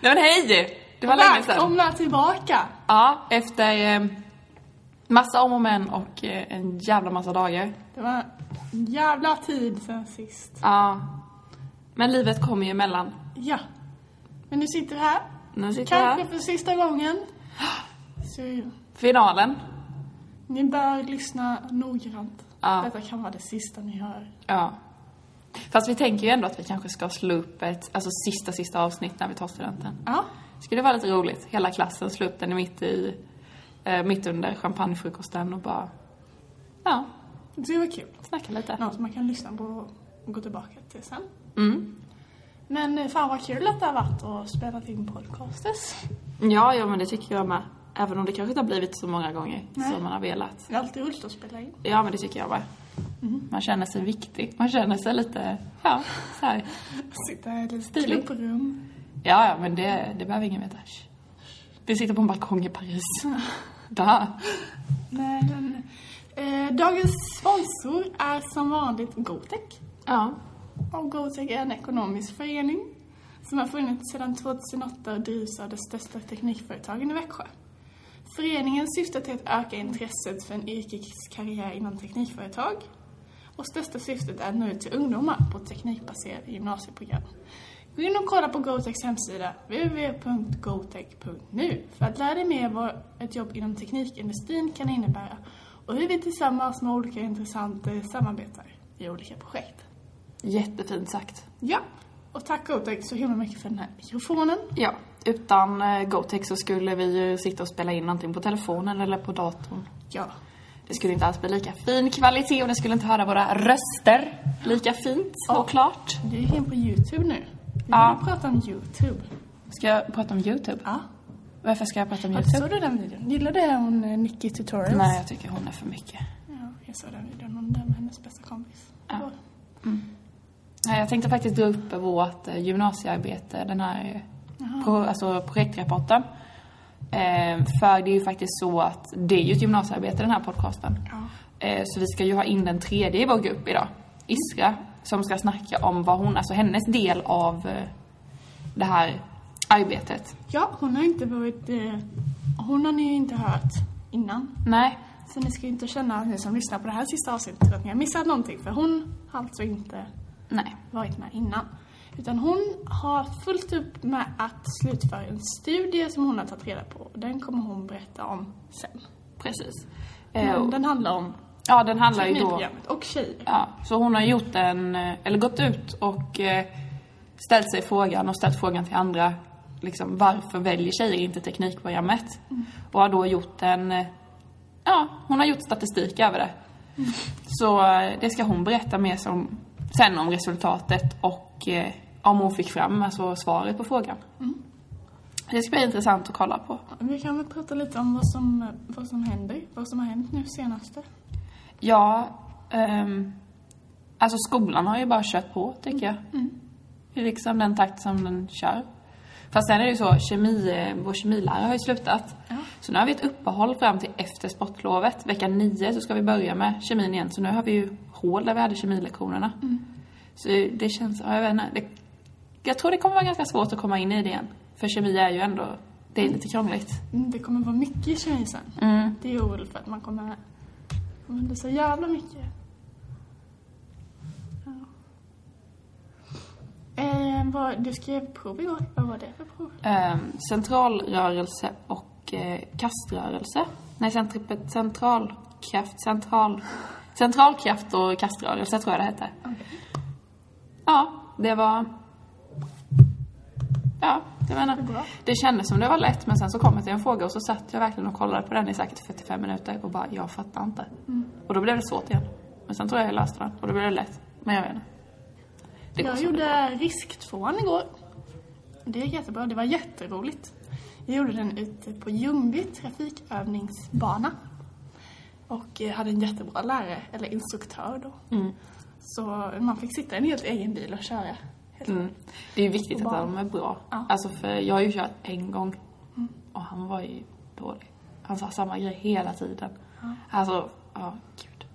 Nej men hej! Det var länge sedan. Välkomna tillbaka! Ja, efter eh, massa om och men och eh, en jävla massa dagar. Det var en jävla tid sen sist. Ja. Men livet kommer ju emellan. Ja. Men nu sitter vi här. Nu sitter vi Kanske här. för sista gången. Så Finalen. ni bör lyssna noggrant. Ja. Detta kan vara det sista ni hör. Ja. Fast vi tänker ju ändå att vi kanske ska slå upp ett, alltså sista, sista avsnitt när vi tar studenten. Ja. Skulle vara lite roligt. Hela klassen slår upp den mitt i, eh, mitt under champagnefrukosten och bara, ja, Det var kul. snacka lite. Något man kan lyssna på och gå tillbaka till sen. Mm. Men eh, fan vad kul att det har varit och spelat in podcastes. Ja, ja men det tycker jag med. Även om det kanske inte har blivit så många gånger som man har velat. Det är alltid roligt att spela in. Ja, men det tycker jag med. Mm-hmm. Man känner sig viktig. Man känner sig lite, ja, så här. Sitta i ett litet Stiligt. klubbrum. Ja, ja, men det, det behöver ingen veta. Shh. Vi sitter på en balkong i Paris. Da. Men, eh, dagens sponsor är som vanligt Gotec. Ja. Och Gotec är en ekonomisk förening som har funnits sedan 2008 och drivs av det största teknikföretagen i Växjö. Föreningen syftar till att öka intresset för en yrkeskarriär inom teknikföretag och största syftet är att nå ut till ungdomar på teknikbaserade gymnasieprogram. Gå in och kolla på Gotecs hemsida, www.gotec.nu, för att lära dig mer vad ett jobb inom teknikindustrin kan innebära och hur vi tillsammans med olika intressenter samarbetar i olika projekt. Jättefint sagt. Ja, och tack Gotek så himla mycket för den här mikrofonen. Ja, utan eh, GoTech så skulle vi ju sitta och spela in någonting på telefonen eller på datorn. Ja, Det skulle inte alls bli lika fin kvalitet och det skulle inte höra våra röster lika fint och klart. du är inne på Youtube nu. Vi Ja. ja. prata om Youtube. Ska jag prata om YouTube? Ja. Varför ska jag prata om YouTube? Såg du den videon? Gillade du hon eh, Nicky Tutorials? Nej, jag tycker hon är för mycket. Ja, jag såg den videon. Hon där med hennes bästa kompis. Ja. Ja. Nej, jag tänkte faktiskt dra upp vårt eh, gymnasiearbete, den här eh, pro, alltså projektrapporten. Eh, för det är ju faktiskt så att det är ju ett gymnasiearbete den här podcasten. Ja. Eh, så vi ska ju ha in den tredje i vår grupp idag, Isra, som ska snacka om vad hon, alltså hennes del av eh, det här arbetet. ja, hon har inte varit... Eh, hon har ni ju inte hört innan. Nej, Så ni ska ju inte känna, ni som lyssnar på det här sista avsnittet, att ni har missat någonting. För hon har alltså inte nej. varit med innan. Utan hon har fullt upp med att slutföra en studie som hon har tagit reda på. Den kommer hon berätta om sen. Precis. Eh, Men och- den handlar om ja, den handlar ju då... teknikprogrammet och tjejer. Ja, så hon har gjort en, eh, eller gått ut och eh, ställt sig frågan och ställt frågan till andra, liksom varför väljer tjejer inte teknikprogrammet? Och har då gjort en, eh, ja, hon har gjort statistik över det. Så eh, det ska hon berätta mer som, sen om resultatet och eh, om hon fick fram alltså svaret på frågan. Det ska bli intressant att kolla på. Vi kan väl prata lite om vad som, vad som händer, vad som har hänt nu senaste. Ja, ehm, alltså skolan har ju bara kört på tycker jag. I liksom den takt som den kör. Fast sen är det ju så, kemi, eh, vår kemilärare har ju slutat. Ja. Så nu har vi ett uppehåll fram till efter sportlovet. Vecka nio så ska vi börja med kemin igen. Så nu har vi ju hål där vi hade kemilektionerna. Så det känns, ja, jag vet inte. Det, jag tror det kommer vara ganska svårt att komma in i det igen. För kemi är ju ändå, det är lite krångligt. Mm, Det kommer vara mycket i tjejer sen. Mm. Det är jag orolig för att man kommer... Men det är så jävla mycket. Ja. Eh, vad, du skrev prov igår. Vad var det för prov? Ehm, centralrörelse och eh, kaströrelse. Nej, centrip- centralkraft, central... Centralkraft och kaströrelse tror jag det hette. Ja, det var... Ja, jag Det är menar. bra. Det kändes som det var lätt men sen så kom det till en fråga och så satt jag verkligen och kollade på den i säkert 45 minuter och bara, jag fattar inte. Mm. Och då blev det svårt igen. Men sen tror jag jag löste den och då blev det lätt. Men jag vet inte. Det går Jag så. gjorde risktvåan igår. Det gick jättebra. Det var jätteroligt. Jag gjorde den ute på Ljungby trafikövningsbana. Och eh, hade en jättebra lärare, eller instruktör då. Så man fick sitta i en helt egen bil och köra. Helt Mm. Det är ju viktigt Och att barn. de är bra. Ja. Mm. Alltså för jag har ju kört en gång och han var ju dålig. Han sa samma grej hela tiden. Alltså, ja, gud.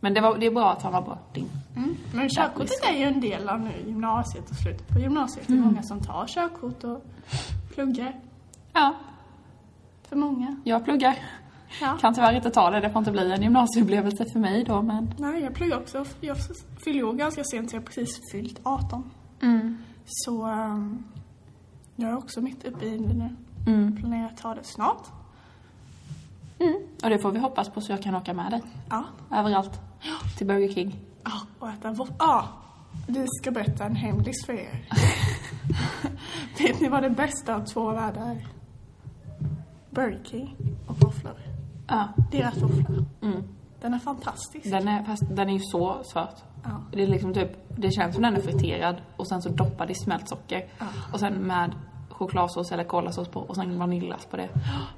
Men det, var, det är bra att han var bra. Ding. Mm. Men körkortet är ju en del av nu gymnasiet och slutet på gymnasiet. Det är många som tar körkort och pluggar. Ja, För många. jag pluggar. Ja. Kan tyvärr inte ta det, det får inte bli en gymnasieupplevelse för mig då men... Nej, jag pluggar också. Jag fyller ju år ganska sent, så jag har precis fyllt 18. Mm. Så ehm, jag är också mitt uppe i det nu. Mm. Planerar att ta det snart. Och det får vi hoppas på så jag kan åka med dig. Ja. Överallt. Till Burger King. Ja, och äta våfflor. Ja, vi ska berätta en hemlis för er. Vet ni vad det bästa av två världar är? Burger King och våfflor. Ja. Deras våffla. Mm. Den är fantastisk. Den är, fast den är ju så söt. Ja. Det, är liksom typ, det känns som den är friterad och sen så doppad i smält socker. Ja. Och sen med chokladsås eller kolasås på och sen vaniljglass på det.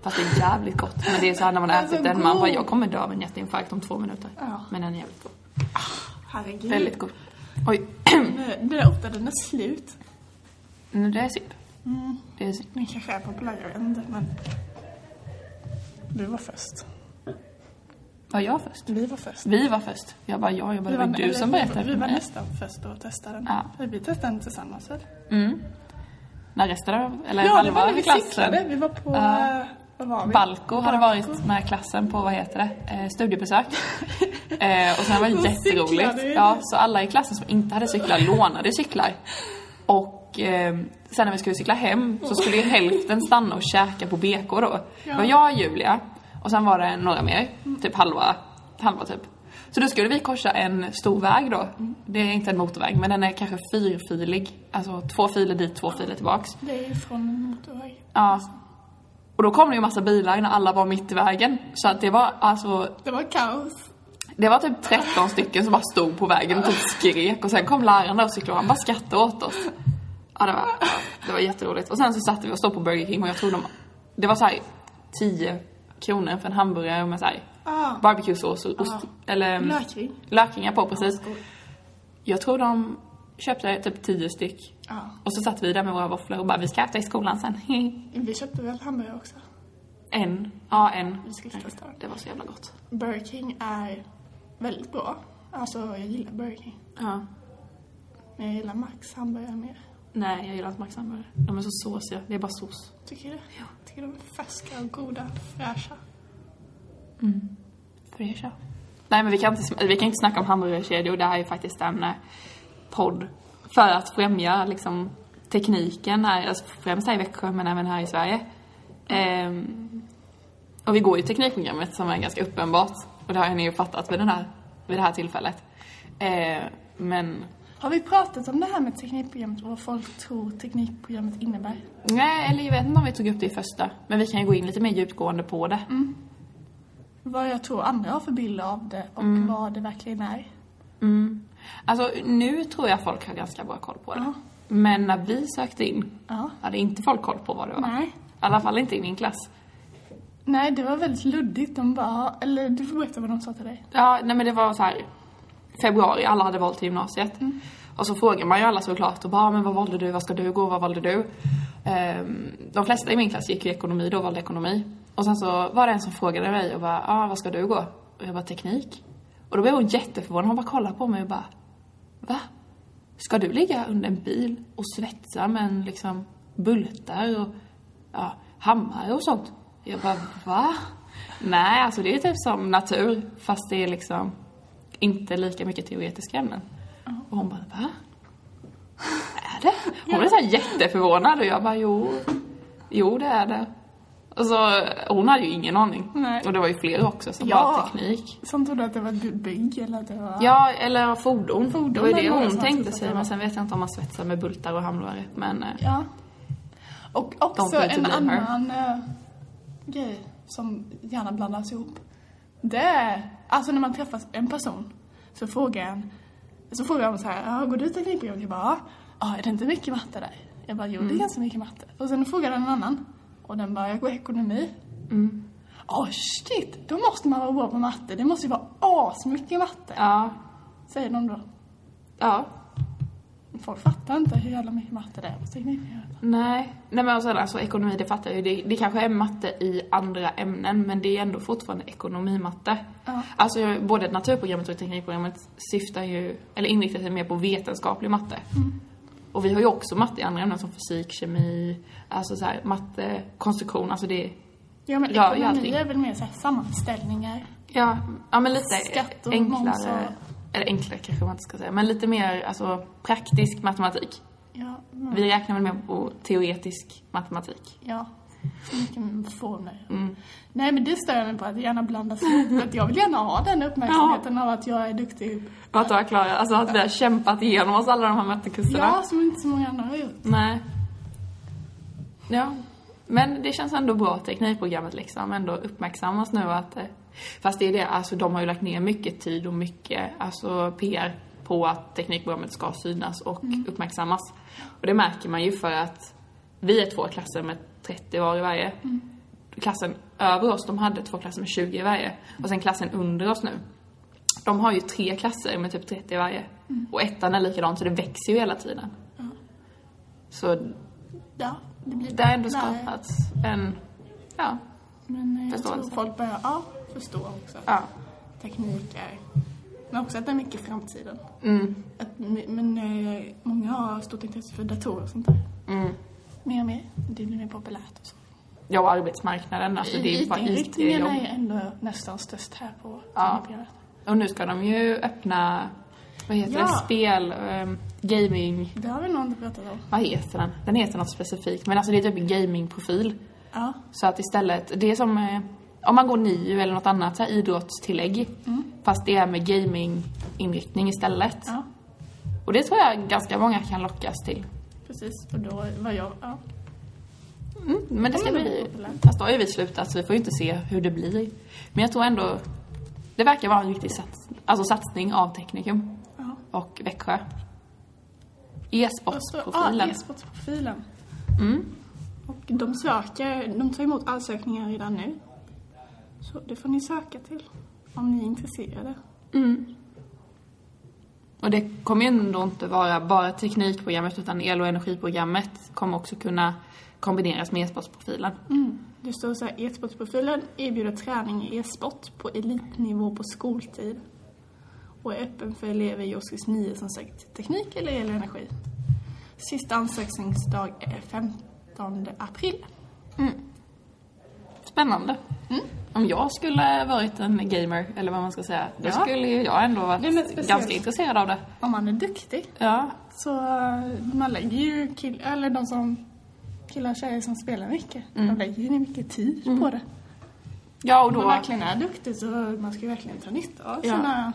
Fast det är jävligt gott. Men det är så här när man Den är ätit så den, man god. bara jag kommer dö av en hjärtinfarkt om två minuter. Ja. Men den är jävligt god. Herregud. Väldigt god. Oj, Den- Den är ofta den är slut. nu det är synd. Mm. Det är synd. Den kanske är populär, jag vet inte, men... Du var först. Var jag först? Vi var först. Vi var först. Jag bara, ja, jag bara, det var du eller som vi- berättade Vi för var mig. nästan först att testa den. Ja. Vi testade den tillsammans, väl? Mm. När resten av, eller Ja, det var halva när vi cyklade. klassen. Vi var på... Ja. eh, Vad var vi? Balko hade Balco. varit med klassen på, vad heter det, eh, studiebesök. eh, och sen var Då det cyklade vi. jätteroligt. Ja, så alla i klassen som inte hade cyklar lånade cyklar. Och eh, sen när vi skulle cykla hem så skulle ju hälften stanna och käka på BK då. Det var jag, Julia och sen var det några mer, typ halva, halva typ. Så då skulle vi korsa en stor väg då. Mm. Det är inte en motorväg men den är kanske fyrfilig. Alltså två filer dit, två filer tillbaks. Det är ju från en motorväg. Ja. Och då kom det ju massa bilar när alla var mitt i vägen. Så att det var alltså, Det var kaos. det var typ 13 stycken som bara stod på vägen och typ skrek. Och sen kom läraren där och cyklade och han bara skrattade åt oss. Ja, det var, ja, det var jätteroligt. Och sen så satte vi och stod på Burger King och jag tror de, det var så här 10 kronor för en hamburgare med så här Ah. barbecuesås och ost, eller mm, Lökring. lökringar på precis. skoj. Jag tror de köpte typ 10 styck. Ja. Och så satt vi där med våra våfflor och bara, vi ska äta i skolan sen. Vi köpte väl hamburgare också. En. Ja, en. Vi skulle testa den. Det var så jävla gott. Burger King är väldigt bra. Alltså, jag gillar Burger King. Ja. Men jag gillar Max hamburgare mer. Nej, jag gillar inte Max hamburgare. De är så såsiga. Det är bara sås. Tycker du? Ja. Tycker de är färska och goda, fräscha. Fräscha. Nej, men vi kan inte, vi kan inte snacka om hamburgerkedjor. Det här är faktiskt en eh, podd för att främja liksom, tekniken här. Alltså, främst här i Växjö, men även här i Sverige. Ehm, och vi går ju teknikprogrammet som är ganska uppenbart. Och det har ni ju fattat vid, den här, vid det här tillfället. Ehm, men Har vi pratat om det här med teknikprogrammet och vad folk tror teknikprogrammet innebär? Nej, eller jag vet inte om vi tog upp det i första. Men vi kan ju gå in lite mer djupgående på det. Mm. Vad jag tror andra har för bild av det och vad det verkligen är. Mm. Alltså nu tror jag folk har ganska bra koll på det. Ja. Men när vi sökte in Ja. hade inte folk koll på vad det var. Nej. I alla fall inte i min klass. Nej, det var väldigt luddigt. De bara, eller du får berätta vad de sa till dig. Ja, nej men det var så här februari, alla hade valt till gymnasiet. Och så frågar man ju alla såklart och bara, "Ah, men vad valde du, vad ska du gå, vad valde du? Ehm, de flesta i min klass gick ju ekonomi då, och valde ekonomi. Och sen så var det en som frågade mig och bara, ah, vad ska du gå? Och jag bara, teknik. Och då blev hon jätteförvånad, hon bara kollade på mig och bara, va? Ska du ligga under en bil och svetsa med en liksom bultar och ja, hammare och sånt? Jag bara, va? Nej, alltså det är typ som natur, fast det är liksom inte lika mycket teoretiska ämnen. Och hon bara, va? Är det? Hon blev så här jätteförvånad och jag bara, jo, jo det är det. Och så, hon hade ju ingen aning. Nej. Och det var ju fler också som Ja. bara teknik. Som trodde att det var bygg eller att det var... Ja, eller fordon. Fordon det var ju eller det några hon sådana tänkte som sig, satt men sen vet jag inte om man svetsar med bultar och hamrar. Men eh, Ja. Och också Don't need to en blame her. annan eh, grej som gärna blandas ihop. Det är, alltså när man träffar en person så frågar en, så frågar de så här, "Ja, går du teknikprogrammet? Jag bara, "Ja." ja, är det inte mycket matte där? Jag bara, jo det är ganska mycket matte. Och sen frågar den en annan och den bara, jag går ekonomi. Åh shit, då måste man vara bra på matte. Det måste ju vara asmycket matte, ja, säger de då. ja. folk fattar inte hur jävla mycket matte det är på teknikprogrammet. Nej. Nej men och sen alltså ekonomi, det fattar jag ju. Det, det kanske är matte i andra ämnen men det är ändå fortfarande ekonomimatte. Ja. Alltså jag- både naturprogrammet och teknikprogrammet syftar ju, eller inriktar sig mer på vetenskaplig matte. Mm. Och vi har ju också matte i andra ämnen som fysik, kemi, alltså så här, matte, konstruktion, alltså det Ja men Ja, i ekonomi allting. är väl mer så här sammanställningar. Ja, ja men lite Skatt och moms enklare. och- Eller enklare kanske man inte ska säga, men lite mer alltså, praktisk matematik. Ja, mm, Vi räknar väl mer på teoretisk matematik. ja. Så mycket formler. Mm. Nej men det stör jag mig på att det gärna blandas ihop. för att jag vill gärna ha den uppmärksamheten av att jag är duktig. Och att du har klarat, alltså att vi har kämpat igenom oss alla de här mattekurserna. Ja, som inte så många andra har gjort. Nej. Ja. Men det känns ändå bra, teknikprogrammet liksom, ändå uppmärksammas nu att... eh, Fast det är det, alltså de har ju lagt ner mycket tid och mycket, alltså PR på att teknikprogrammet ska synas och uppmärksammas. Och det märker man ju för att vi är två klasser med 30 var i varje. Klassen över oss, de hade två klasser med 20 i varje. Och sen klassen under oss nu, de har ju tre klasser med typ 30 i varje. Och ettan är likadan, så det växer ju hela tiden. Så Ja, det blir det har ändå Nej, skapats en... Ja. Men eh, jag tror förståelse. folk börjar ja, förstå också. att ja. Teknik är... Men också att det är mycket framtiden. Mm. Att, men eh, många har stort intresse för datorer och sånt där. Mm. Mer och mer. Det blir mer populärt och så. Ja, och arbetsmarknaden. Alltså, det är ju bara IT-inriktningen är IT-jobb. ju ändå nästan störst här på Ja. programmet. Och nu ska de ju öppna... Vad heter Ja. det? Spel... ehm, gaming... Det har vi nog inte pratat om. Vad heter den? Den heter något specifikt. Men alltså det är typ en gamingprofil. Ja. Så att istället... Det är som... eh, Om man går NIU eller något annat så här idrottstillägg. Fast det är med gaminginriktning istället. Mm. ja, Och det tror jag ganska många kan lockas till. precis. Och då var jag... Ja. Mm, men det ska Ja, men det bli... blir populärt. Fast då har ju vi slutat så vi får ju inte se hur det blir. Men jag tror ändå... Det verkar vara en riktig sats, alltså satsning av Teknikum ja. och Växjö. Och så- Ja, E-sportsprofilen. e-sportprofilen. Mm. Och de söker, de tar emot ansökningar redan nu. Så det får ni söka till om ni är intresserade. Mm. Och det kommer ju ändå inte vara bara teknikprogrammet utan el och energiprogrammet kommer också kunna kombineras med Mm. e-sportsprofilen. Mm. Det står så här, e-sportprofilen erbjuder träning i e-sport på elitnivå på skoltid och är öppen för elever i årskurs 9 som sökt teknik eller el och energi. Sista ansökningsdag är 15 april. Spännande. Mm. Om jag skulle varit en gamer, eller vad man ska säga, då Ja. skulle ju jag ändå Det är något varit speciellt. ganska intresserad av det. Om man är duktig Ja, så eh, man lägger ju kill- eller de som killar och tjejer som spelar mycket, de lägger ju mycket tid på det. Ja, och Om då... man verkligen är duktig så man ska ju verkligen ta nytta av Ja. sina...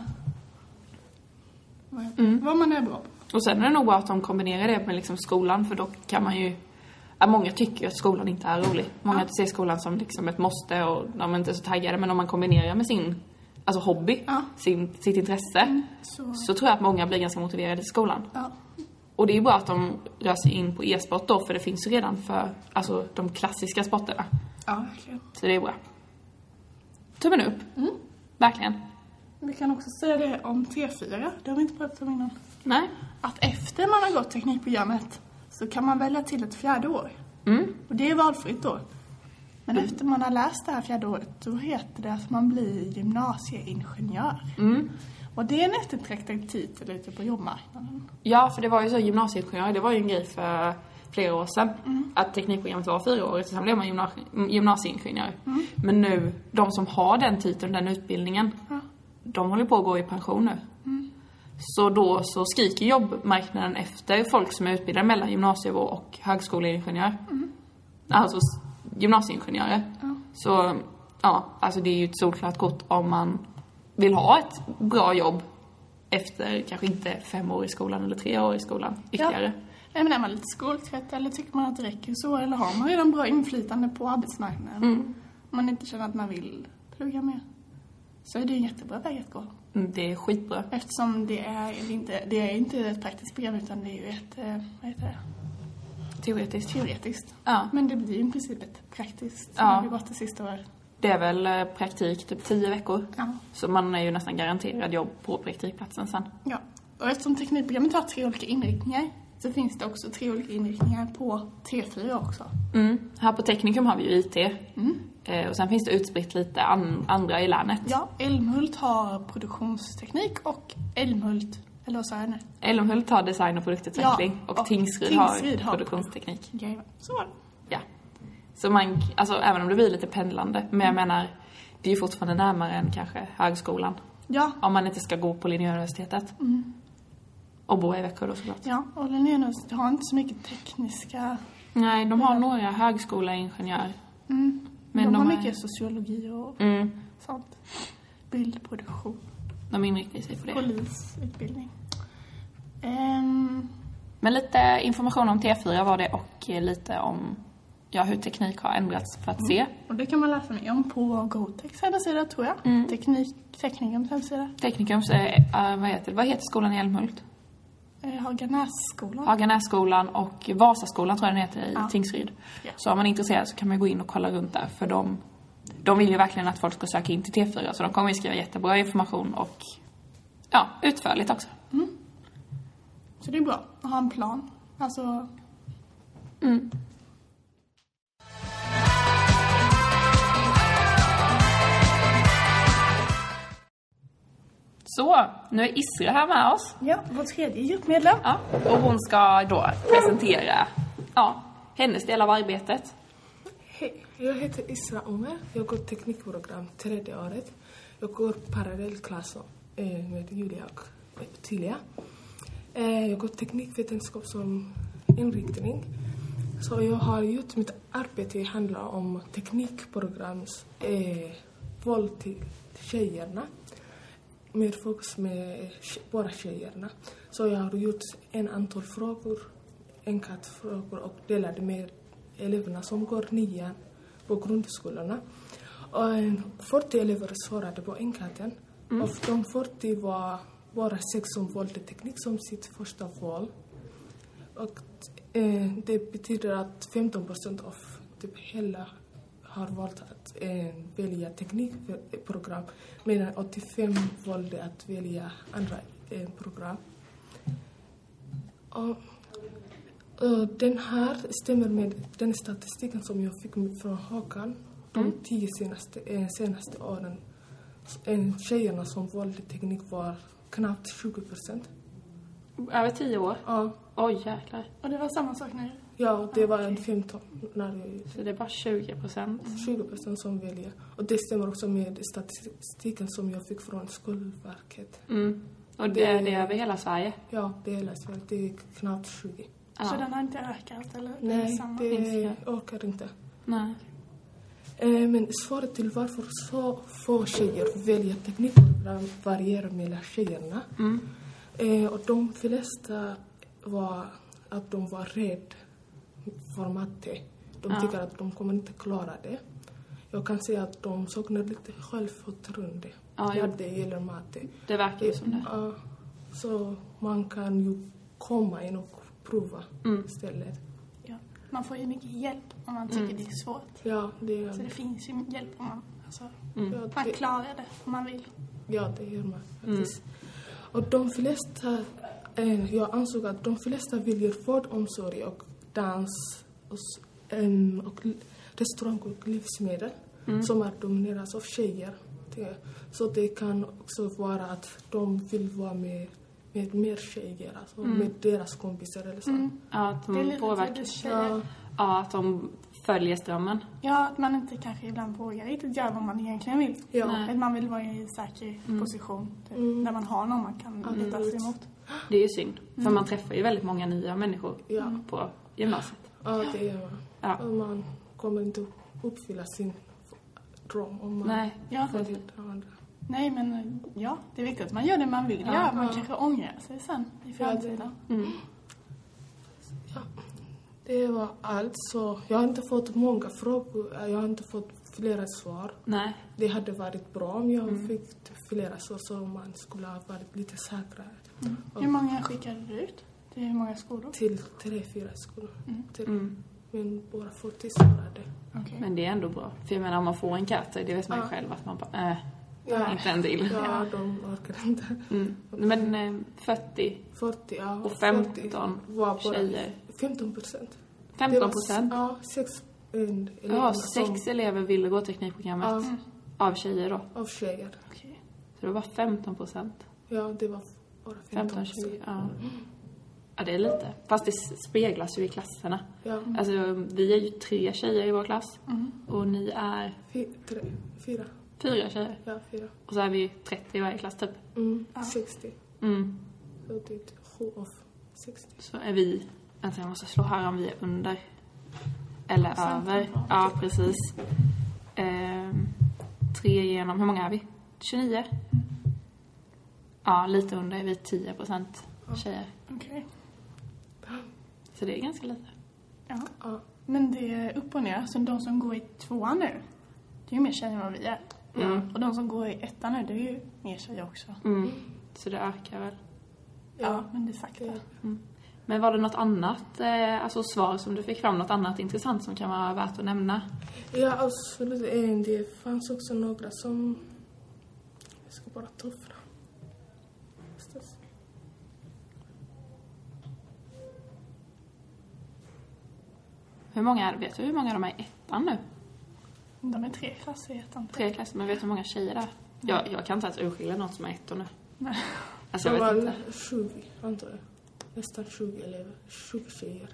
vad- Vad man är bra på. Och sen är det nog bra att de kombinerar det med liksom skolan, för då kan man ju... Ja, många tycker ju att skolan inte är rolig. Många ser skolan som liksom ett måste och de är inte så taggade. Men om man kombinerar med sin alltså hobby, Ja. Mm. sin, sitt intresse, Så, så tror jag att många blir ganska motiverade i skolan. ja. Och det är ju bra att de rör sig in på e-sport då, för det finns ju redan för alltså, de klassiska sporterna. ja, verkligen. Så det är bra. Tummen upp. Mm. Verkligen. Vi kan också säga det om T4, det har vi inte pratat om innan. Nej. Att efter man har gått teknikprogrammet så kan man välja till ett fjärde år. Mm. Och det är valfritt då. Men efter man har läst det här fjärde året då heter det att man blir gymnasieingenjör. Mm. Och det är en eftertraktad titel ute på jobbmarknaden. Ja, för det var ju så gymnasieingenjör, det var ju en grej för flera år sedan. Att teknikprogrammet var fyra år, så sen blev man gymnasie, gymnasieingenjör. Men nu, de som har den titeln, den utbildningen, Ja. de håller på att gå i pension nu. Så då så skriker jobbmarknaden efter folk som är utbildade mellan gymnasienivå och högskoleingenjör. Alltså s- gymnasieingenjörer. Så ja, alltså det är ju ett solklart kort om man vill ha ett bra jobb efter kanske inte fem år i skolan eller tre år i skolan ytterligare. Nej, men är man lite skoltrött eller tycker man att det räcker så eller har man redan bra inflytande på arbetsmarknaden Mm. om man inte känner att man vill plugga mer så är det ju en jättebra väg att gå. Mm, Det är skitbra. Eftersom det är, det är inte, det är inte ett praktiskt program utan det är ju ett eh, vad heter det, Teoretiskt. teoretiskt. Ja. Men det blir ju i princip ett praktiskt som Ja. har gått det sista året. Det är väl eh, praktik typ tio veckor. Ja. Så man är ju nästan garanterad jobb på praktikplatsen sen. ja. Och eftersom teknikprogrammet har tre olika inriktningar så finns det också tre olika inriktningar på T4 också. Mm. Här på Teknikum har vi ju IT. Mm. Eh, och sen finns det utspritt lite an, andra i länet. Ja, Älmhult har produktionsteknik och Älmhult, eller vad sa jag nu? Älmhult har design och produktutveckling. Ja, och, och Tingsryd, Tingsryd har har produktionsteknik. Jajamän, Så var det. Ja. Så man, alltså även om det blir lite pendlande. Men jag menar, det är ju fortfarande närmare än kanske högskolan. Ja, Om man inte ska gå på Linnéuniversitetet. Och bo i Växjö då såklart. Mm. ja. och Linnéuniversitetet har inte så mycket tekniska... Nej, de har några högskoleingenjörer. Mm. Men Men de, de har är- mycket sociologi och Mm. sånt. Bildproduktion, De inriktar sig på det. polisutbildning. Ehm, Men lite information om T4 var det och eh, lite om ja, hur teknik har ändrats för att se. och det kan man läsa mer om på Gotex hemsida tror jag. Mm. Teknik, Teknikums hemsida. Teknikums, eh, eh, vad, heter, vad heter skolan i Älmhult? Eh, Haganässkolan. Haganässkolan och Vasaskolan tror jag den heter i Ja. Tingsryd. Ja. Så om man är intresserad så kan man gå in och kolla runt där för de, de vill ju verkligen att folk ska söka in till T4 så de kommer ju skriva jättebra information och ja, utförligt också. Så det är bra att ha en plan. Alltså, Mm. Så, nu är Isra här med oss. ja, vår tredje gruppmedlem. Ja, och hon ska då presentera ja, hennes del av arbetet. Hej, jag heter Isra Omer. Jag går teknikprogram tredje året. Jag går parallellklasser eh, med Julia och Ottilia. Eh, jag går teknikvetenskap som inriktning. Så jag har gjort mitt arbete handlar om teknikprograms eh, våld till tjejerna med fokus med tje- bara tjejerna. Så jag har gjort en antal frågor, enkätfrågor och delade med eleverna som går nian på grundskolorna. Och en 40 elever svarade på enkäten. Och de 40 var bara sex som valde teknik som sitt första val. Och eh, det betyder att 15 procent av typ hela har valt att eh, välja teknikprogram medan 85 valde att välja andra eh, program. Och, och den här stämmer med den statistiken som jag fick från Håkan de tio senaste, eh, senaste åren. S- Eh, tjejerna som valde teknik var knappt 20 procent. Över tio år? Ja, Oj jäklar. Och det var samma sak när Ja, det var en 15 när jag Så det är bara 20 procent. 20 procent som väljer. Och det stämmer också med statistiken som jag fick från Skolverket. Mm. Och det, det är över hela Sverige? Ja, det är hela Sverige. Det är knappt 20. Ja. Så den har inte ökat eller? det är Nej, samma. det orkar inte. Nej. Eh, Men svaret till varför så få tjejer väljer teknikprogram varierar mellan tjejerna. Mm. Eh, och de flesta var att de var rädda för matte. De Ja. tycker att de kommer inte klara det. Jag kan säga att de saknar lite självförtroende Ja, när ja. det gäller matte. Det verkar ju som det. Ja, så man kan ju komma in och prova Mm. istället. Ja. Man får ju mycket hjälp om man tycker det är svårt. Ja, Så det det gör finns ju hjälp om man, alltså, Mm. ja, man det. klarar det om man vill. Ja, det gör man faktiskt. Och de flesta, eh, jag ansåg att de flesta väljer vård, omsorg och dans och, s- em, och l- restaurang och livsmedel Mm. som är domineras av tjejer. Det, så det kan också vara att de vill vara med, med mer tjejer, alltså Mm. med deras kompisar eller så. Ja, att Det är de lite påverkar. typiskt Ja, tjejer. Ja, att de följer strömmen. Ja, att man inte kanske ibland vågar riktigt göra vad man egentligen vill. ja. Nej. Att man vill vara i en säker position. Typ, Mm. Där man har någon man kan luta sig Absolut. emot. Det är ju synd. För man träffar ju väldigt många nya människor Ja. på gymnasiet. Ja, det gör man. Ja. Och Man kommer inte uppfylla sin dröm om man Nej. Ja. följer de andra. Nej men eh, ja, det är viktigt att man gör det man vill Ja. göra. Man Ja. kanske ångrar sig sen i Ja, det- framtiden. Mm. Ja, det var allt. Så jag har inte fått många frågor. eh, Jag har inte fått flera svar. Nej. Det hade varit bra om jag Mm. fick flera svar så man skulle ha varit lite säkrare. Och Mm. Hur många skickade du ut? Till hur många skolor? Till tre, fyra skolor. Till. Mm. Men bara 40 svarade. Okej. Men det är ändå bra. För jag menar, om man får en katt, det vet man ju Ja. själv att man bara, äh, Ja, Inte en till. ja de orkar inte. Mm. Men eh, 40 40, ja. och 15 40 var bara tjejer. 15 procent. 15 procent. Ja, sex en- Ja, elever som- sex elever ville gå teknikprogrammet. Ja. Av tjejer då. av tjejer. Okej. Så det var 15 procent. Ja, det var bara 15 15-20, ja. Ja, det är lite. Fast det speglas ju i klasserna. Ja, Alltså, vi är ju tre tjejer i vår klass. Mm. Och ni är fy, tre, fyra. fyra tjejer. Ja, fyra. Och så är vi 30 i varje klass typ. Mm, 60. Mm. Så det är sju av 60. Så är vi, vänta jag måste slå här om vi är under. Eller Samtal, över. ja. Ja, precis. Ehm, tre genom, hur många är vi? 29? Ja, lite under. Vi är 10 procent tjejer. Okej. Så det är ganska lite. Ja. Ja, Men det är upp och ner, så de som går i tvåan nu, det är ju mer tjejer än vad vi är. Mm. Och de som går i ettan nu, det är ju mer tjejer också. Mm. Så det ökar väl. Ja, men det är fakta. det- Men var det något annat, eh, alltså svar som du fick fram, något annat intressant som kan vara värt att nämna? ja absolut. Eh, Det fanns också några som... Jag ska bara ta fram. Stas- Hur många är det? Vet du hur många de är i ettan nu? De är tre klasser i ettan. Tre klasser, men vet du hur många tjejer det är? Jag, jag kan inte ens urskilja någon som är ettor nu. Nej. Alltså Det jag vet var inte. 20, antar jag. Nästan 20 elever. 20 tjejer.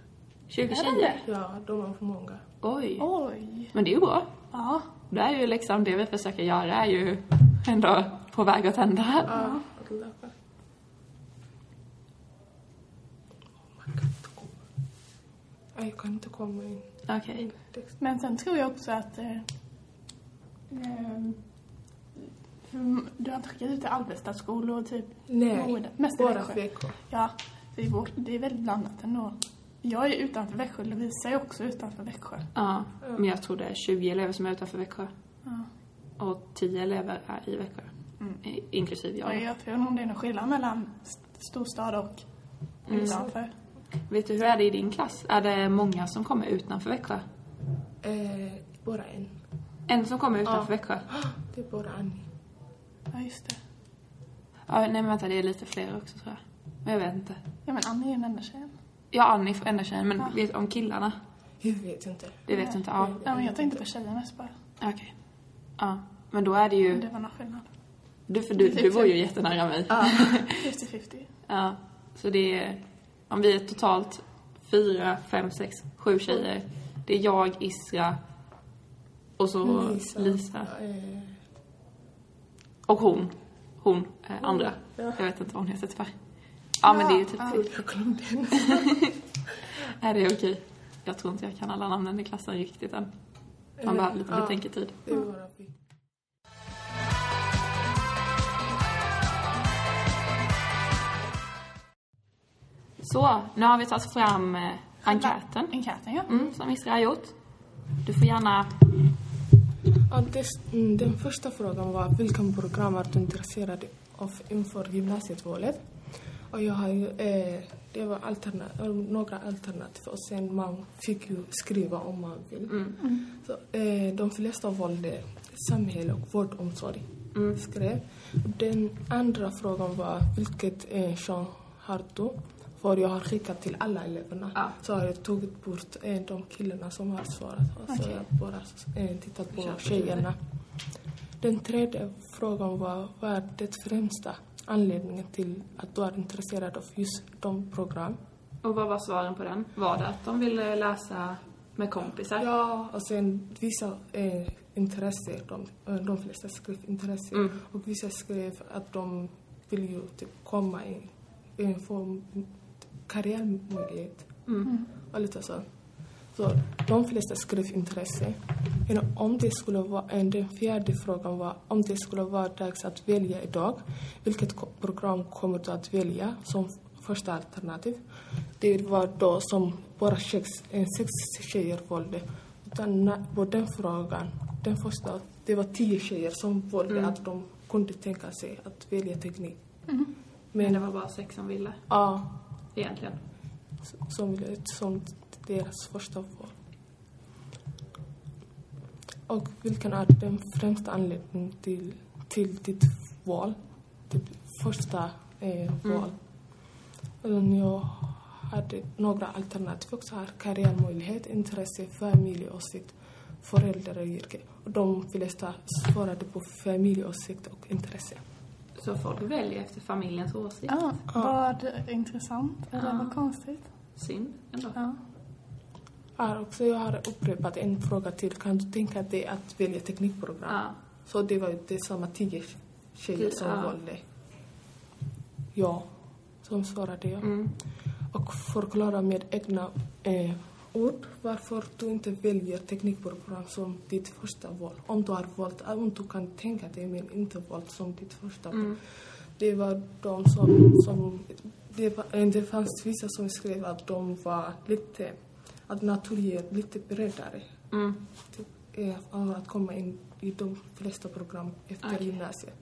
20 Är det tjejer? Ja, de var för många. Oj. Oj! Men det är ju bra. Ja. Det är ju liksom det vi försöker göra är ju ändå på väg att hända. Ja, alla fall. Oh my God, inte komma. Nej, Jag kan inte komma in. Okej. Text. Men sen tror jag också att... Eh, ehm, för du har inte skickat ut till Alvestaskolor och typ... Nej, Moda. Mest i bara Växjö. veckor. Ja, det är, vårt, det är väldigt blandat ändå. Jag är utanför Växjö, Lovisa är också utanför Växjö. Ja. Men jag tror det är 20 elever som är utanför Växjö. Ja. Och 10 elever är i Växjö. I- Inklusive Och jag. jag tror nog det är någon skillnad mellan st- storstad och Mm. utanför. Vet du hur är det i din klass? Är det många som kommer utanför Växjö? Eh, bara en. Ah, En som kommer utanför Växjö? Det är bara Annie. Ja, just det. Ja, nej men vänta, det är lite fler också tror jag. Men jag vet inte. Ja, men Annie är den enda tjejen. Ja, Annie får enda tjejen, men vet, om killarna? Jag vet inte. Det vet du inte? Ja. Ja, men jag tänkte på tjejer mest bara. Okej. Ja. Men då är det ju... Det var någon skillnad. Du, för du, du var ju jättenära mig. Ja. 50-50. Så det är... Om vi är totalt fyra, fem, sex, sju tjejer. Det är jag, Isra och så Mm, Lisa. Eh, Och hon. Hon, eh, andra. Mm, Ja. Jag vet inte vad hon heter tyvärr. Ja, men det är ju typ... Ja. jag glömde henne. Är det okej? Jag tror inte jag kan alla namnen i klassen riktigt än. Man behöver lite Eh, Ja. betänketid. Det är bara vi. Så, nu har vi tagit fram eh, enkäten. Enkäten, ja. Mm, som Isra har gjort. Du får gärna... Ja, det, mm, den första frågan var vilken program är du intresserad av inför gymnasievalet? Och jag har ju, eh, det var alterna, eh, några alternativ och sen man fick ju skriva om man vill. Så, eh, de flesta valde samhälle och vårdomsorg. Skrev. Den andra frågan var vilket eh, kön har du? För jag har skickat till alla eleverna. Ja. Så har jag tagit bort eh, de killarna som har svarat. Och så har jag bara eh, tittat på på tjejerna. Den tredje frågan var vad är det främsta anledningen till att du är intresserad av just de program? Och vad var svaren på den? Var det att de ville läsa med kompisar? Ja, och sen vissa eh, intresse, de, eh, de flesta skrev intresse och vissa skrev att de vill ju typ komma in, eh, få karriärmöjlighet Mm. och lite så. Så de flesta skrev intresse. Men om det skulle vara, eh, den fjärde frågan var om det skulle vara dags att välja idag, vilket ko- program kommer du att välja som första alternativ? Det var då som bara sex, eh, sex tjejer valde. Utan na- på den frågan, den första, det var tio tjejer som valde att de kunde tänka sig att välja teknik. Men Men det var bara sex som ville, ja, egentligen. som, som deras första val. Och vilken är den främsta anledningen till till ditt val. Typ första eh, val. Mm. Jag hade några alternativ också. Här. Karriärmöjlighet, intresse, familj och sitt föräldrayrke. Och de flesta svarade på familj, åsikt och intresse. Så folk väljer efter familjens åsikt. Ja, vad intressant. Eller Ja. vad konstigt. Synd ändå. Ja. Här också, jag har upprepat en fråga till. Kan du tänka dig att välja teknikprogram? Ja. Så det var ju det samma tio tjejer som Ja. valde. Ja, som svarade ja. Mm. Och förklara med egna eh, ord varför du inte väljer teknikprogram som ditt första val. Om du har valt, eh, om du kan tänka dig men inte valt som ditt första val. Mm. Det var de som, som det, var, eh, det fanns vissa som skrev att de var lite, att naturer lite bredare Mm. typ, är av att komma in i de flesta program efter Okej. gymnasiet.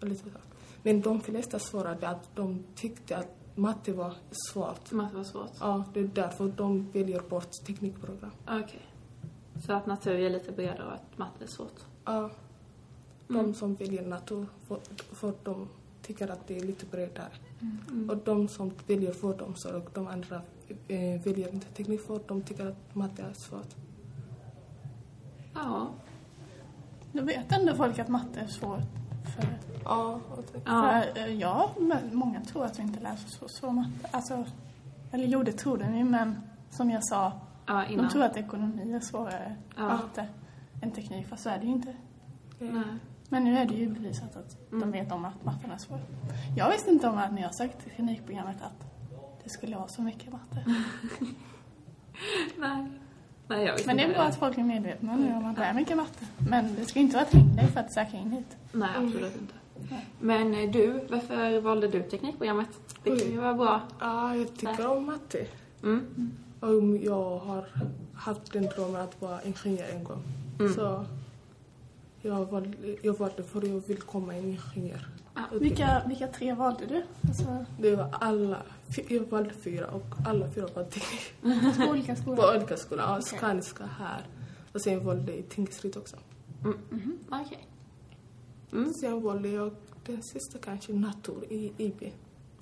Och lite så. Men de flesta svarade att de tyckte att matte var svårt. Som att det var svårt. Ja, det är därför de väljer bort teknikprogram. Ah, Okej. Så att natur är lite bredare och att matte är svårt. Ja, de Mm. Mm. som väljer natur, för, för de tycker att det är lite bredare. Mm. Och de som väljer vårdomsorg och de andra eh, väljer inte teknik för de tycker att matte är svårt. Ja. Nu vet ändå folk att matte är svårt. För, Ja, och- ja. för eh, ja, men många tror att vi inte läser så, så matte. Alltså, eller jo, det tror de ju, men som jag sa, ja innan. de tror att ekonomi är svårare Ja. matte än teknik, fast så är det ju inte. Nej. Men nu är det ju bevisat att Mm. de vet om att matten är svår. Jag visste inte om att när jag sökte till teknikprogrammet att det skulle vara så mycket matte. Nej. Nej, jag visste Men det är inte bra att folk är medvetna nu om att det är mycket matte. Men det ska ju inte vara ett hinder för att söka in hit. Nej, absolut inte. Men eh, du, varför valde du teknikprogrammet? Det kan ju vara bra. ja, jag tycker om matte. Mm. Um, jag har haft den drömmen att vara ingenjör en gång. Mm. Så jag valde, jag valde för jag vill komma en ingenjör. Ah, Vilka, vilka tre valde du? Alltså, Det var alla, fy- jag valde fyra och alla fyra var teknik. två olika På skolor. olika skolor, ja, Skånska här. Och sen valde jag i Tingsryd också. Mm. Okej. Mm, Sen valde jag den sista kanske, natur i IB.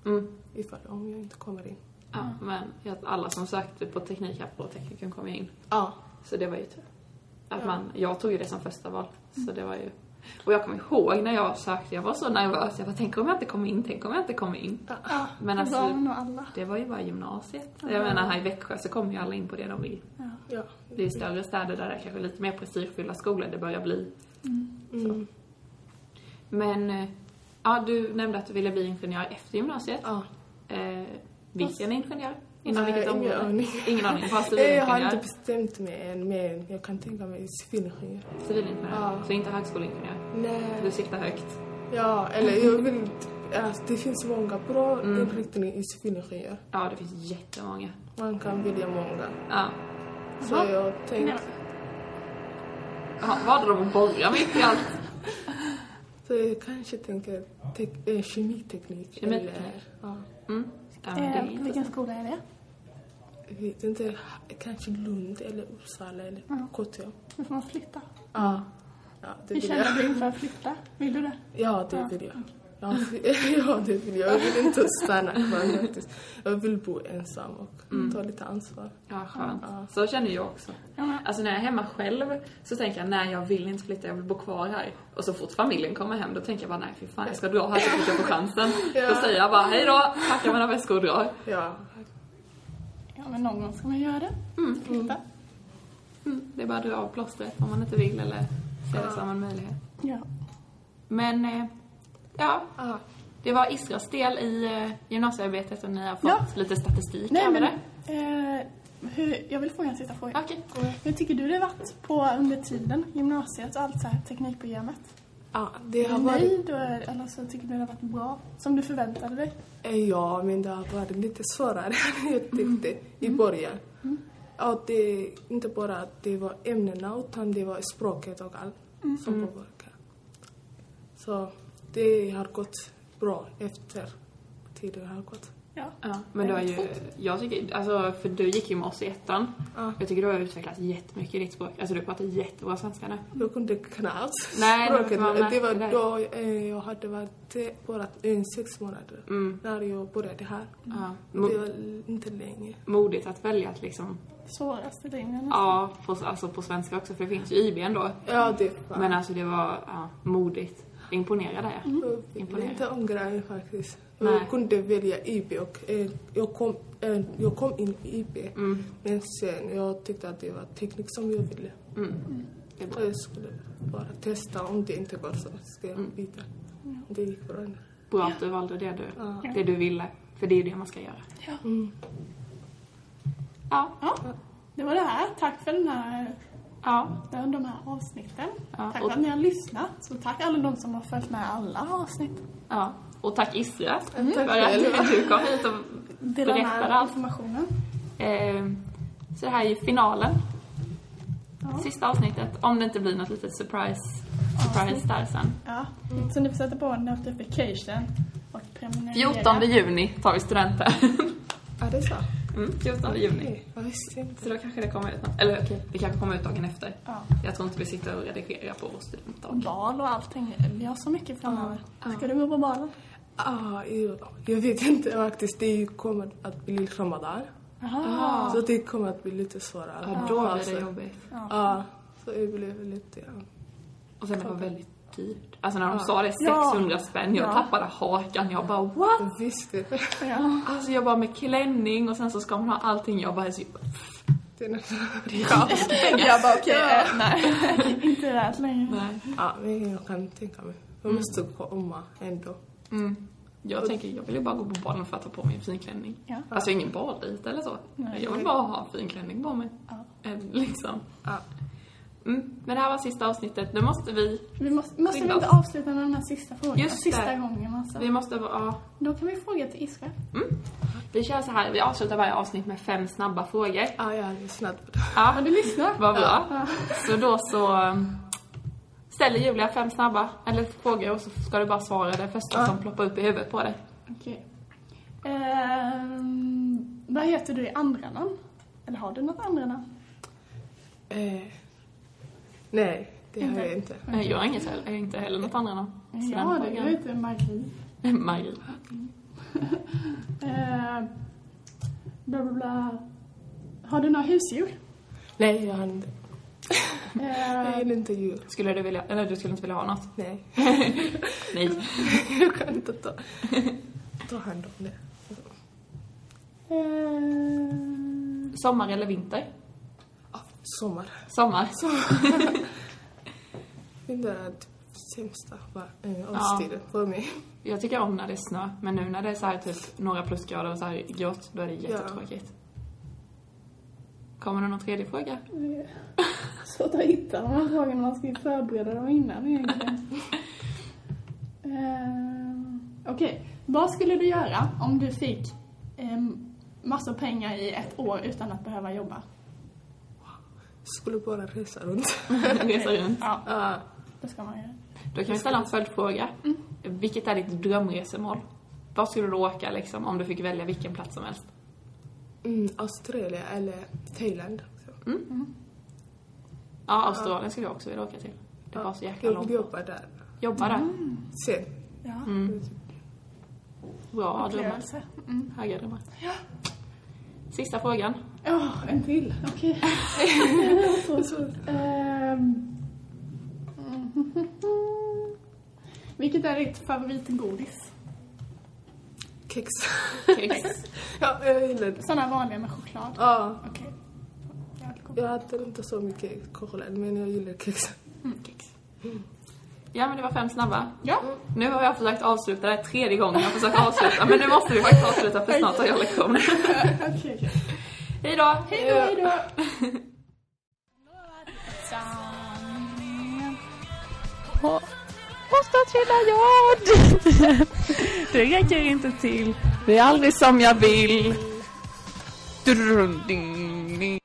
Mm. Ifall om jag inte kommer in. Ja, men jag- alla som sökte på teknik här på tekniken kom ju in. Ja, Så det var ju tur. Att Ja. man, jag tog ju det som första val. Så det var ju... Och jag kommer ihåg när jag sökte, jag var så nervös. Jag bara, tänk om jag inte kommer in, tänk om jag inte kommer in. Ja, Men det alltså- var nog alla. Det var ju bara gymnasiet. Jag menar, här i Växjö så kommer ju alla in på det de vill. ja. Det är ju större städer där det är kanske lite mer prestigefyllda skolor det börjar bli. Mm. Men, eh, ja du nämnde att du ville bli ingenjör efter gymnasiet. ja. Eh, vilken ingenjör? Inom Nej, vilket ingen område? aning. Ingen aning. Bara Eh, Jag har inte civilingenjör? bestämt mig än, men jag kan tänka mig civilingenjör. Civilingenjör. Ja. Så inte högskoleingenjör? Du Nej. siktar högt? Ja, eller jag vill inte- alltså, Det finns många bra inriktningar i civilingenjör. Ja, det finns jättemånga. Man kan välja många. Ja. Så jag Nej, tänkte... Ja, Valde de att borra mitt i allt? Så jag kanske tänker tek- eh, kemiteknik. Kemiteknik. Eller, ja, Mm. Ja, det är eh, intressant. vilken skola är det? jag vet inte. Kanske Lund eller Uppsala eller KTH. Nu får man flytta. Ja. Ja, det Hur vill jag. känner du inför att flytta? Vill du det? Ja, det vill jag. Ja, ja, det vill jag. Jag vill inte stanna kvar faktiskt. Jag vill bo ensam och ta lite ansvar. Ja, skönt. Så känner jag också. Ja, men- Alltså när jag är hemma själv så tänker jag nej jag vill inte flytta, jag vill bo kvar här. Och så fort familjen kommer hem då tänker jag bara nej fy fan jag ska dra här så fort jag får chansen. Ja. Då säger jag bara hej då, packar mina väskor och drar. Ja, Ja, men någon gång ska man göra det. Flytta. Mm, det är bara att dra av plåstret om man inte vill eller ser det som en möjlighet. Ja. Men eh, ja, Ja. det var Isras del i eh, gymnasiearbetet och ni har fått Ja. lite statistik Nej, över men... det. Eh, hur, jag vill fråga en sista fråga. Okej. Hur tycker du det har varit på under tiden, gymnasiet och allt så här, teknikprogrammet? ja det Är har du varit... nöjd och- eller så tycker du det har varit bra? Som du förväntade dig? eh, Ja, men det har varit lite svårare än jag tyckte i början. Ja, det är inte bara att det var ämnena utan det var språket och allt Mm. som påverkar. Så det har gått bra efter tiden har gått. Ja. Ja, men du har ju, jag tycker, alltså, för du gick ju med oss i ettan. Ja. Jag tycker du har utvecklats jättemycket i ditt språk. Alltså du pratar jättebra svenska nu. Jag kunde knappt Nej, det var språket. man- Det var det där. då eh, jag hade varit eh, bara eh, sex månader Mm. när jag började här. Ja. Och Mm. Det Mo- var Mm. inte länge. modigt att välja att liksom, Svåraste linjen. ja, på, alltså på svenska också för det finns ju IB ändå. Ja, det var. Mm. Men alltså det var ja, modigt. Jag imponerar där. jag vill imponerad. inte ångra mig faktiskt. Nej. Jag kunde välja IB och eh, jag, kom, eh, jag kom in i IB. Mm. Men sen jag tyckte att det var teknik som jag ville. Mm. Det är bra. Och jag skulle bara testa. Om det inte går så ska Mm. jag byta. Det gick bra. nu. Bra att du valde det du, Ja. det du ville. För det är ju det man ska göra. Mm. Ja. Ja, det var det här. Tack för den här, Ja. den- de här avsnitten. Ja, tack och- för att ni har lyssnat. Så tack alla de som har följt med alla avsnitt. ja. Och tack Isra för själv. att du kom hit och Dela med Berättade er av allt. informationen. Eh, så det här är ju finalen. Ja. Sista avsnittet. Om det inte blir något litet surprise, surprise där sen. Ja. Så ni får sätta på notification och prenumerera. 14 juni tar vi studenten. Ja, det är så. Mm, 14 juni. Nej, jag visste inte. Så då kanske det kommer ut något. Eller okej, det kanske kommer ut dagen efter. Ja. Jag tror inte vi sitter och redigerar på vår studentdag. Och val och allting. Vi har så mycket framöver. Ja. Ska du gå på balen? Ah, jag, jag vet inte faktiskt. Det kommer att bli Ramadan. Ah. Så det kommer att bli lite svårare. Alltså, Ja, då blir alltså. det jobbigt. Ja, ah, så det blev lite... Ja. Och sen det var väldigt dyrt. Alltså när de sa det, Ja. 600 spänn, jag Ja. tappade hakan. Jag bara what? Jag visste Ja. Alltså jag bara med klänning och sen så ska man ha allting. Jag bara, det. är nästan- Jag bara okej, eh, nej. Inte rätt längre. nej. Ja, men jag kan tänka mig. Jag måste gå om ändå. Mm. Jag tänker, jag vill ju bara gå på balen för att ta på mig en fin klänning. Ja. Alltså ingen balrit eller så. Nej. jag vill bara ha en fin klänning på mig. Ja. Eh, Liksom. Ja. Mm. Men det här var sista avsnittet. Nu måste vi... Vi måste, måste vi Bingo. inte avsluta med de här sista frågorna? Just sista det. gången alltså. Vi måste vara... Ja. Då kan vi fråga till Israel. Mm. Vi kör så här, vi avslutar varje avsnitt med fem snabba frågor. Ja, jag är snabb. Ja, Har du lyssnat? vad bra. Ja. Så då så um, ställer Julia fem snabba, eller frågor och så ska du bara svara det första som ploppar upp i huvudet på dig. Okej. Ehm, vad heter du i andra namn? Eller har du något andra namn? Eh, nej, det har jag inte. Nej, Jag har inget heller, inte heller något annat namn. Så Jag den har Mm. det. frågan- Jag heter Marie. Marie. Ehm, bla, bla, bla. Har du några husdjur? Nej, jag har inte. Jag Ehm, gillar inte djur. Skulle du vilja, eller du skulle inte vilja ha något? Nej, Nej. jag kan inte ta, ta hand om det. ehm, Sommar eller vinter? Ah, sommar. Sommar. Det där är typ sämsta va, eh, årstiden för mig. Jag tycker om när det är snö, men nu när det är så här typ några plusgrader och så här grått, då är det jättetråkigt. Kommer det någon tredje fråga? Svårt att hitta de här frågorna, man ska ju förbereda dem innan egentligen. Ehm, Okej, vad skulle du göra om du fick um, massor pengar i ett år utan att behöva jobba? Skulle bara resa runt. Resa runt. Ja, Ah, det ska man göra. Då kan vi ställa en följdfråga. Vilket är ditt drömresemål? Var skulle du åka liksom, om du fick välja vilken plats som helst? mm, Australien eller Thailand. också. Ja, Australien skulle jag också vilja åka till. Det var så jäkla jag långt vill bort. jobba där. Jobba Mm. där. Sen. typ Ja, Mm. Bra drömmar. upplevelse. Mm. Höga drömmar. Sista frågan. Åh, en till. Okej. Ehm, Vilket är ditt favoritgodis? Kex. Kex. ja, jag gillar det. Sådana vanliga med choklad? Ja, Okej. Jävligt gott. jag äter inte så mycket choklad men jag gillar kex. Ja, men det var fem snabba. Ja. Nu har jag försökt avsluta, det är tredje gången jag försöker avsluta, men nu måste vi faktiskt avsluta för snart har jag lektion. Okej, okej. Hej då! Hej då, hej då! Måste trilla jord! Det räcker inte till. Det är aldrig som jag vill. Drun, ding, ding.